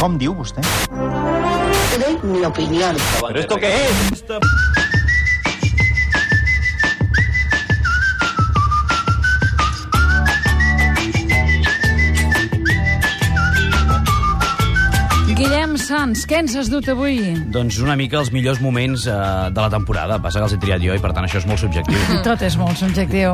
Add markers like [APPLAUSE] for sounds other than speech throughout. Com diu vostè? Doy mi opinión. ¿Pero esto qué es? Guillem Sans, què ens has dut avui? Doncs una mica els millors moments eh, de la temporada. Passa que els he triat jo i, per tant, això és molt [LAUGHS] subjectiu. Tot és molt subjectiu.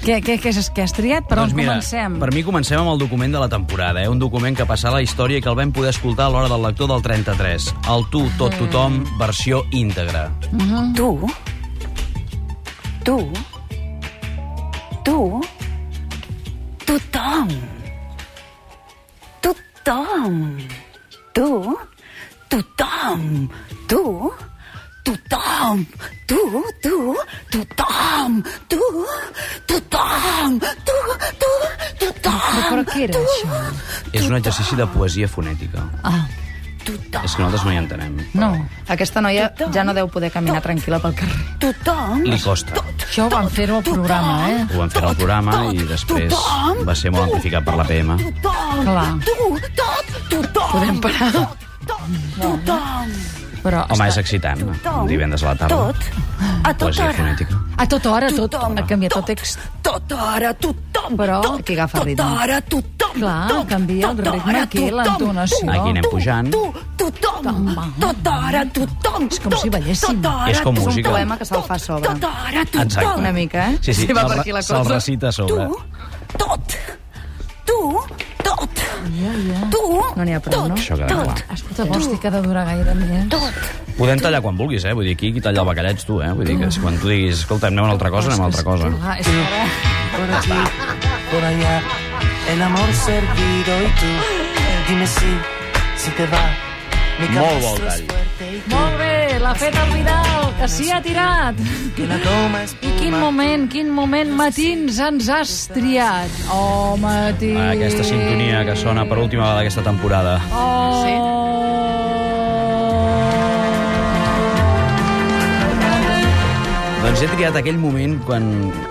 Què, què, què, és, què has triat? Per doncs on mira, comencem? Per mi comencem amb el document de la temporada, eh? un document que passarà a la història i que el vam poder escoltar a l'hora del lector del 33. El tu, tot, Mm. tothom, versió íntegra. Tu? Tu? Tu? Tothom. Tothom. Tu? Tothom. Tu? Tothom. Tu, tu, tothom. Tu, tothom. Tu, tu, tothom. Però, però què era Tu, això? És un exercici de poesia fonètica. Ah, Tothom. És que nosaltres no hi entenem. no. Aquesta noia Tothom. ja no deu poder caminar tranquil·la pel carrer. Tothom. Li costa. Tot, Això ho van tot, fer-ho al tothom, programa, eh? Ho van fer al programa tot, i després tothom, va ser molt tu, amplificat per la PM. Tothom, Clar. tu, tot, tothom. Podem parar? Tot, tot, tothom, Però Home, és excitant. tothom. Un divendres a la tarda. tota Tot, a tot Poesia hora. fonètica. a tota hora tot Tothom, ha canviat el tot, text. Tot hora, tothom, Però tot, aquí agafa tot ritme. hora, tothom, Clar, tot, canvia el tot ritme hora, aquí, tothom, l'entonació. tu, Aquí anem tu, pujant. Tu, tothom, tot hora, tothom, És com si balléssim. tot hora, És com tothom, música. poema que se'l fa a sobre. Tot hora, tothom. Exacte. Una mica, eh? Sí, sí, Sí, va se'l per re- aquí la se'l cosa. recita a sobre. Tu, tot. Tu, tot. Tu, No n'hi ha prou, tot, no? Això queda tot, clar. Escolta, vols dir que ha de durar gaire més? tot. Podem tallar quan vulguis, eh? Vull dir, aquí qui talla el bacallà ets tu, eh? Vull dir que si quan tu diguis, escolta, anem a una altra cosa, anem a una altra cosa. Clar, és que ara... por aquí, por allá, el amor servido y tú. Dime si, si te va. Mi Molt bo el cabestro es tall. fuerte y tú, Molt bé, l'ha fet el Vidal, que s'hi ha tirat. que la toma I quin moment, quin moment, matins, ens has triat. Oh, matins. Ah, Aquesta sintonia que sona per última vegada aquesta temporada. Oh. Sí. Doncs he triat aquell moment quan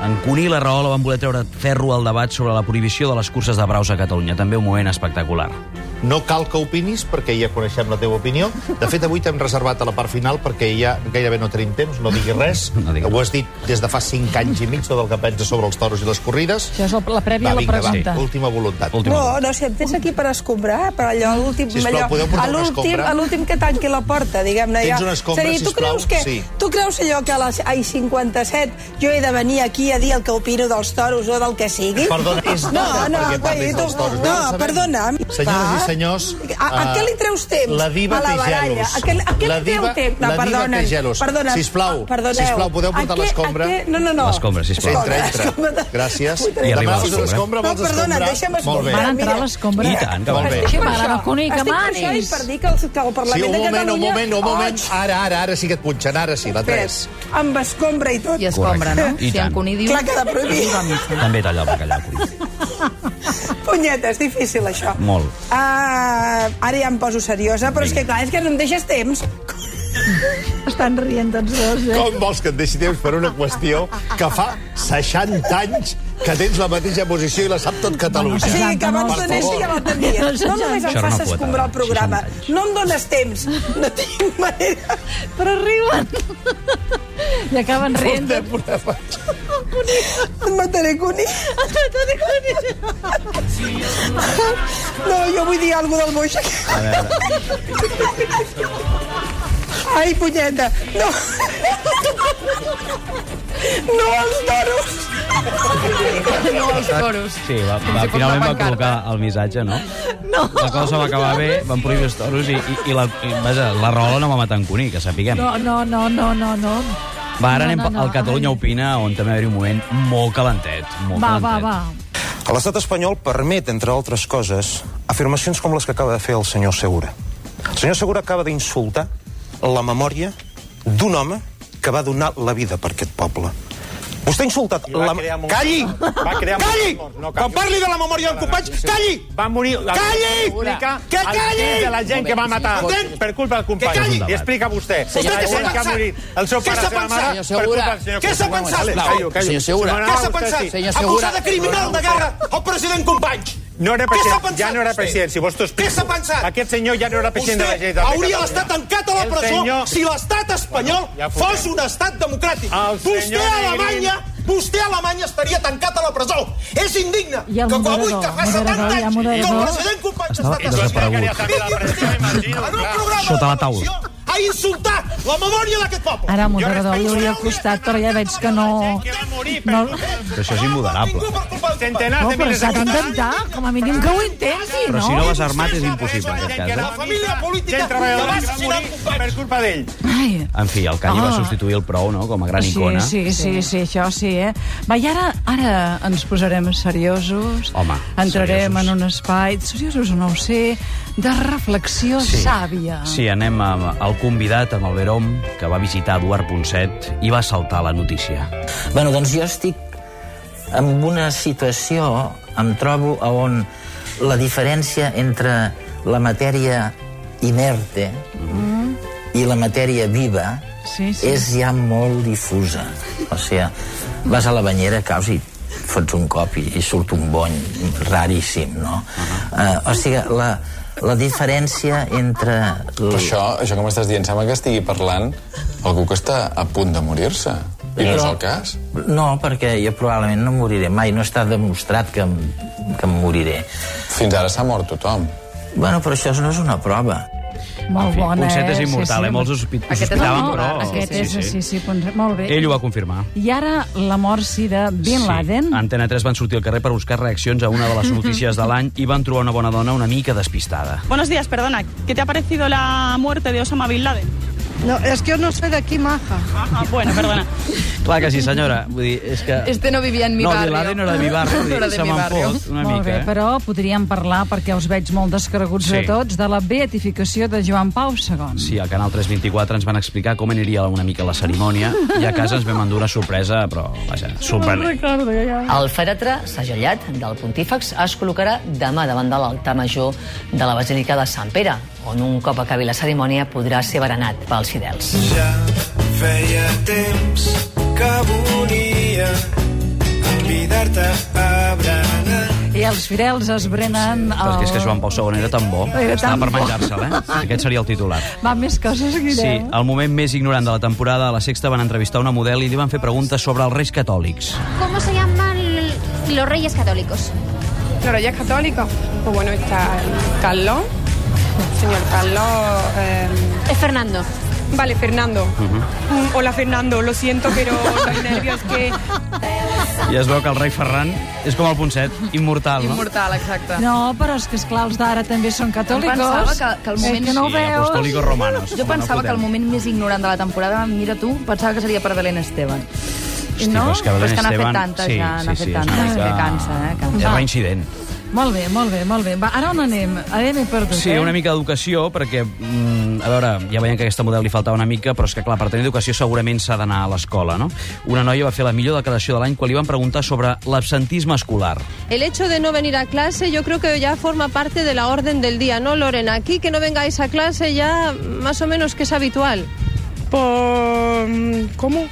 en Cuní i la Rahola van voler treure ferro al debat sobre la prohibició de les curses de braus a Catalunya. També un moment espectacular. No cal que opinis, perquè ja coneixem la teva opinió. De fet, avui t'hem reservat a la part final, perquè ja gairebé no tenim temps, no diguis res. [LAUGHS] No diguis Ho has dit des de fa 5 anys i mig, tot el que penses sobre els toros i les corrides. Això és la, la prèvia Va, a la vinga, va, pregunta. última voluntat. Última. No, no, si em tens aquí per escombrar, per allò, a l'últim... Sisplau, allò, podeu portar a una l'últim- escombra? A l'últim que tanqui la porta, diguem-ne. Tens allò. una escombra, Seria, tu sisplau? creus que, Sí. Tu creus allò que a les ai, 57 jo he de venir aquí a dir el que opino dels toros o del que sigui? Perdona, és no, dada, no, perquè parlis tu- dels toros. No, Ja ho sabem. perdona. Senyores Va. i senyors, A, a eh, què li treus temps? la diva a la té baralla. gelos. A què, a què La li treu diva- temps? la diva perdona. té gelos. Perdona. Sisplau, Ah, perdoneu. sisplau, podeu portar A què- l'escombra? a què- No, no, no. L'escombra, sisplau. Entra, Escombra, entra. escombra. Gràcies. Vull treure- I arriba Demanes l'escombra. l'escombra, No, vols perdona, escombrar? deixa'm Molt bé. escombrar. Van entrar a Mira. l'escombra. I tant, que Molt van bé. fer. Que Per m'agrada això. Cuní, que Estic per això i manis. per dir que el, que el Sí, Parlament un de moment, Catalunya... un moment, un moment. Ah, Oh, Ara, ara, ara sí que et punxen, ara sí, la 3. espera't, amb escombra i tot. I escombra, no? Correcte. I si en tant. Cuní diu... Clar que ha de prohibir. També talla el bacallà, Cuní. [LAUGHS] Punyeta, és difícil, això. Molt. Ah, ara ja em poso seriosa, però és que, clar, és que no em deixes temps. Estan rient tots dos, Com vols que et deixi temps per una qüestió que fa 60 anys que tens la mateixa posició i la sap tot Catalunya? O sigui, que abans Per d'anés favor. ja l'entendies. No només em Això era fas una quota, escombrar el programa, 60 anys. no em dones temps. No tinc manera. Però riuen. I acaben rient. Portem una fase. Et mataré, Cuni. No, jo vull dir alguna del boix. Ai, punyeta. No. No els toros. Sí, va, va, finalment va col·locar el missatge, no? No. La cosa va acabar bé, van prohibir els toros i, i, i la, i, vaja, la Rahola no va matar en Cuní, que sapiguem. No, no, no, no, no, no. Va, ara No, anem no, no, al Catalunya ai. Opina, on també va haver un moment molt calentet. Molt Va, va, calentet. va. A l'estat espanyol permet, entre altres coses, afirmacions com les que acaba de fer el senyor Segura. El senyor Segura acaba d'insultar la memòria d'un home que va donar la vida per aquest poble. Vostè ha insultat... La... Calli! Va crear Calli! molts morts, no No, cal. Quan parli de la memòria del company, calli! Va morir... La Calli! Explica Que el calli! pes de la gent que va matar Entén? per culpa del company. Que calli! I explica vostè. Vostè La què gent que s'ha ha pensat? morit, El seu Què pare, la s'ha seva mare, pensat? per culpa Ah, del senyor Què s'ha Cuixart. pensat? Callo, callo. Què s'ha Si no anava pensat? vostè així. Acusar de criminal de guerra el president Companys! No era Què s'ha president, pensat ja no era vostè? president. Si vostós... Què s'ha pensat? Aquest senyor ja no era president de la Vostè Generalitat. de hauria Catalunya. d'estar tancat a la El presó senyor- si l'estat espanyol Bueno, ja fotem. fos un estat democràtic. El Vostè senyor a Negrín- Alemanya Vostè a Alemanya estaria tancat a la presó. És indigne I el que com avui moderador, que fa 70 moderador, hi ha anys que el moderador. president Companys ha Estava estat assassinat desaparegut. vingui vostè en un programa Sota la de taula. televisió a insultar la memòria d'aquest poble. Ara, moderador, li hauria costat, però ja veig que no... no... Però això és immoderable. Ningú per culpa del poble. Centenars No, de però milers de s'ha d'intentar, com a mínim que ho intenti, Però no? si no vas armat és impossible, en aquest cas. La Eh? família política gent treballadora que que va va assassinar morir Companys. per culpa d'ell. Ai, En fi, el Canyi va Ah. substituir el prou, no?, com a gran sí, icona. Sí, sí, sí, això sí, eh? Va, i ara, ara ens posarem seriosos. Home, Entrarem seriosos. en un espai, seriosos o no ho sé, de reflexió sàvia. Sí, anem amb el convidat, amb el Veróm, que va visitar Eduard Ponset i va saltar la notícia. Bueno, doncs jo estic en una situació, em trobo a on la diferència entre la matèria inerte i la matèria viva Sí, sí. és ja molt difusa. O sigui, vas a la banyera, caus i et fots un cop i, i surt un bony raríssim, no? Uh, o sigui, la, la diferència entre... Però això, això que m'estàs dient, sembla que estigui parlant algú que està a punt de morir-se. I no és el cas. No, perquè jo probablement no moriré mai. No està demostrat que, em- que em moriré. Fins ara s'ha mort tothom. Bueno, però això no és una prova. Molt En fi, bona, Ponset eh? és immortal, eh? Molts ho sospi- ho Aquest és sospitaven, el- però... Aquest és, sí, sí, sí. sí, Ponset. Molt bé. Ell ho va confirmar. I ara la morsi de Bin Laden. Sí. Ah. Antena 3 van sortir al carrer per buscar reaccions a una de [LAUGHS] les notícies de l'any i van trobar una bona dona una mica despistada. Buenos días, perdona. ¿Qué te ha parecido la muerte de Osama Bin Laden? No, es que yo no soy de aquí, maja. bueno, perdona. Clar que sí, senyora. Vull dir, és que... Este no vivía en mi no, barrio. Bin Laden no era de mi barri. [LAUGHS] No era de se mi me'n barrio. fot una Molt mica, bé, eh? però podríem parlar, perquè us veig molt descarreguts Sí. a tots, de la beatificació de Joan Pau II. Sí, al Canal 324 ens van explicar com aniria una mica la cerimònia i a casa ens vam endur una sorpresa, però, vaja, sorprenent. El fèretre segellat del pontífex es col·locarà demà davant de l'altar major de la Basílica de Sant Pere, on un cop acabi la cerimònia podrà ser berenat pels fidels. Ja feia temps que volia convidar-te a berenar. I els fidels es brenen... Però és que, és que el- Joan Pau II era tan bo. Era Estava tan per bo. menjar-se'l, eh? Aquest seria el titular. Va, més coses, Sí, Guillem. el moment més ignorant de la temporada, a la sexta van entrevistar una model i li van fer preguntes sobre els reis catòlics. ¿Cómo se llaman l- los reyes católicos? Los reyes católicos. Pues bueno, está Carlos. Señor Carlos. eh, Es Fernando. Vale, Fernando. Mm, Hola, Fernando. Lo siento, pero los nervios que. I es veu que el rei Ferran és com el Ponset, immortal, no? Immortal, exacte. No, però és que els claus d'ara també són Jo catòlicos. pensava que, que el Sí, moment... que no ho veus. apostólicos romanos. Jo Home, no pensava que fotem. el moment més ignorant de la temporada, mira tu, pensava que seria per Belén Esteban. I no? però és que Belén però és que n'ha Esteban- fet tantes sí, ja, n'ha sí, fet sí, és tantes, una mica- que cansa, eh? És Cansa. reincident. Molt bé, molt bé, molt bé. Va, ara on anem? Anem i perdut, Sí, eh? una mica d'educació, perquè, mm, a veure, ja veiem que a aquesta model li faltava una mica, però és que, clar, per tenir educació segurament s'ha d'anar a l'escola, no? Una noia va fer la millor declaració de l'any quan li van preguntar sobre l'absentisme escolar. El hecho de no venir a clase yo creo que ya forma parte de la orden del día, ¿no, Lorena? Aquí que no vengáis a clase ya más o menos que es habitual. Por. ¿Cómo?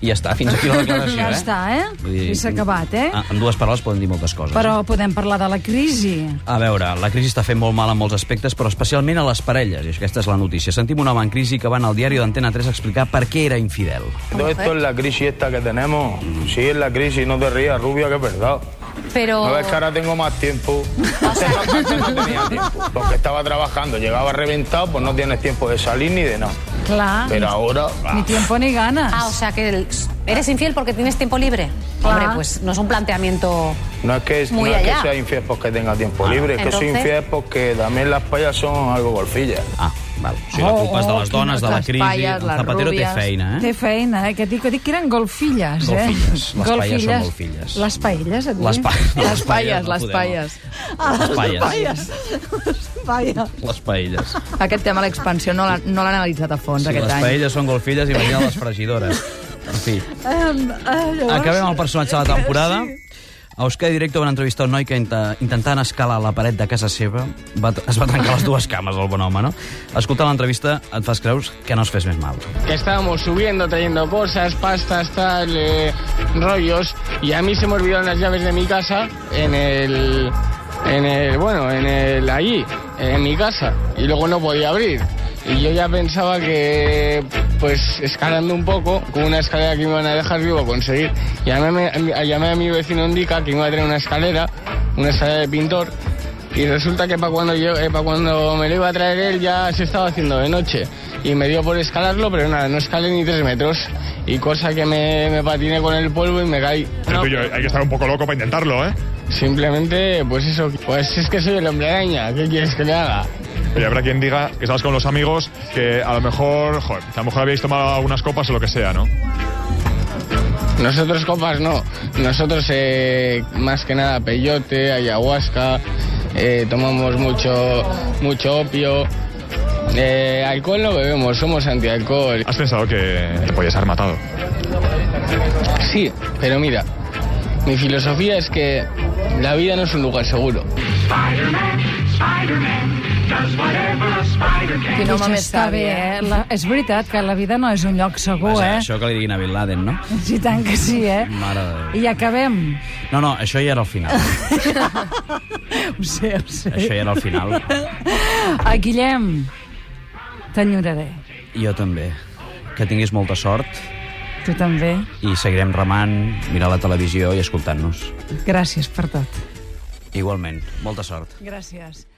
I ja està, fins aquí [LAUGHS] la declaració, Ja eh? està, eh? Vull dir, I s'ha acabat, eh? En- En dues paraules poden dir moltes coses. eh? Però podem parlar de la crisi. A veure, la crisi està fent molt mal en molts aspectes, però especialment a les parelles, i aquesta és la notícia. Sentim un home en crisi que va anar al diari d'Antena 3 a explicar per què era infidel. Todo esto es la crisis esta que tenemos. Sí, es la crisis, no te rías, rubia, que es verdad. Pero- No ves que ahora tengo más [LAUGHS] tiempo. Antes no tenía tiempo, porque estaba trabajando, llegaba reventado, pues no tienes tiempo de salir ni de nada. Clar. Pero ahora... Ni tiempo ni ganas. Ah, o sea que el- eres infiel porque tienes tiempo libre. Hombre, pues no es un planteamiento... No es que, no Muy es que allá. Ah, sea infiel porque tenga tiempo libre, es que soy Entonces- infiel porque también las payas son algo golfillas. Ah, vale. O sigui, Oh, la culpa és de les dones, de la crisi, el Zapatero té feina, eh? Té feina, eh? Que dic, que dic que eren golfilles, Golfilles. eh? Les paies són golfilles. Les paelles, et dic? Les pa- les paies, no podem. Ah, Les paies. Les paies. Les paelles. Aquest tema, l'expansió, no l'ha- no l'han analitzat a fons Si aquest les any. paelles són golfilles, imagina les fregidores. En fi, Um, uh, acabem el personatge de la temporada. A Euskadi Directo van entrevistar un noi que inta- intentant escalar la paret de casa seva va, t- es va trencar les dues cames, el bon home, no? Escoltant l'entrevista et fas creus que no es fes més mal. que estábamos subiendo, trayendo cosas, pastas, tal, eh, rollos, y a mí se me olvidaron las llaves de mi casa en el, en el, bueno, en el, allí, en mi casa, y luego no podía abrir. Y yo ya pensaba que, pues, escalando un poco, con una escalera que me iban a dejar vivo conseguir. Llamé, a mi- llamé a mi vecino Indica, que iba a tener una escalera, una escalera de pintor, y resulta que para cuando, yo, eh, pa' cuando me lo iba a traer él ya se estaba haciendo de noche. Y me dio por escalarlo, pero nada, no escalé ni tres metros. Y cosa que me, me patiné con el polvo y me caí. Pero tú y yo, hay que estar un poco loco para intentarlo, ¿eh? Simplemente, pues eso, pues es que soy el hombre araña, ¿qué quieres que le haga? Y habrá quien diga que estabas con los amigos que a lo mejor, joder, que a lo mejor habéis tomado algunas copas o lo que sea, ¿no? Nosotros copas no, nosotros eh, más que nada peyote, ayahuasca, eh, tomamos mucho, mucho opio. Eh, alcohol no bebemos, somos antialcohol. ¿Has pensado que te podías haber matado? Sí, pero mira, mi filosofía es que la vida no es un lugar seguro. Quin home Això més està savi, bé, eh? La, és veritat que la vida no és un lloc segur, Vaja, eh? Això que li diguin a Bin Laden, no? Sí, tant que sí, eh? Mare de Déu. I acabem. No, no, això ja era el final. Ho sé, ho sé. Això ja era el final. Ah, Guillem, t'enyoraré. Jo també. Que tinguis molta sort Tu també. i seguirem remant, mirant la televisió i escoltant-nos. Gràcies per tot. Igualment. Molta sort. Gràcies.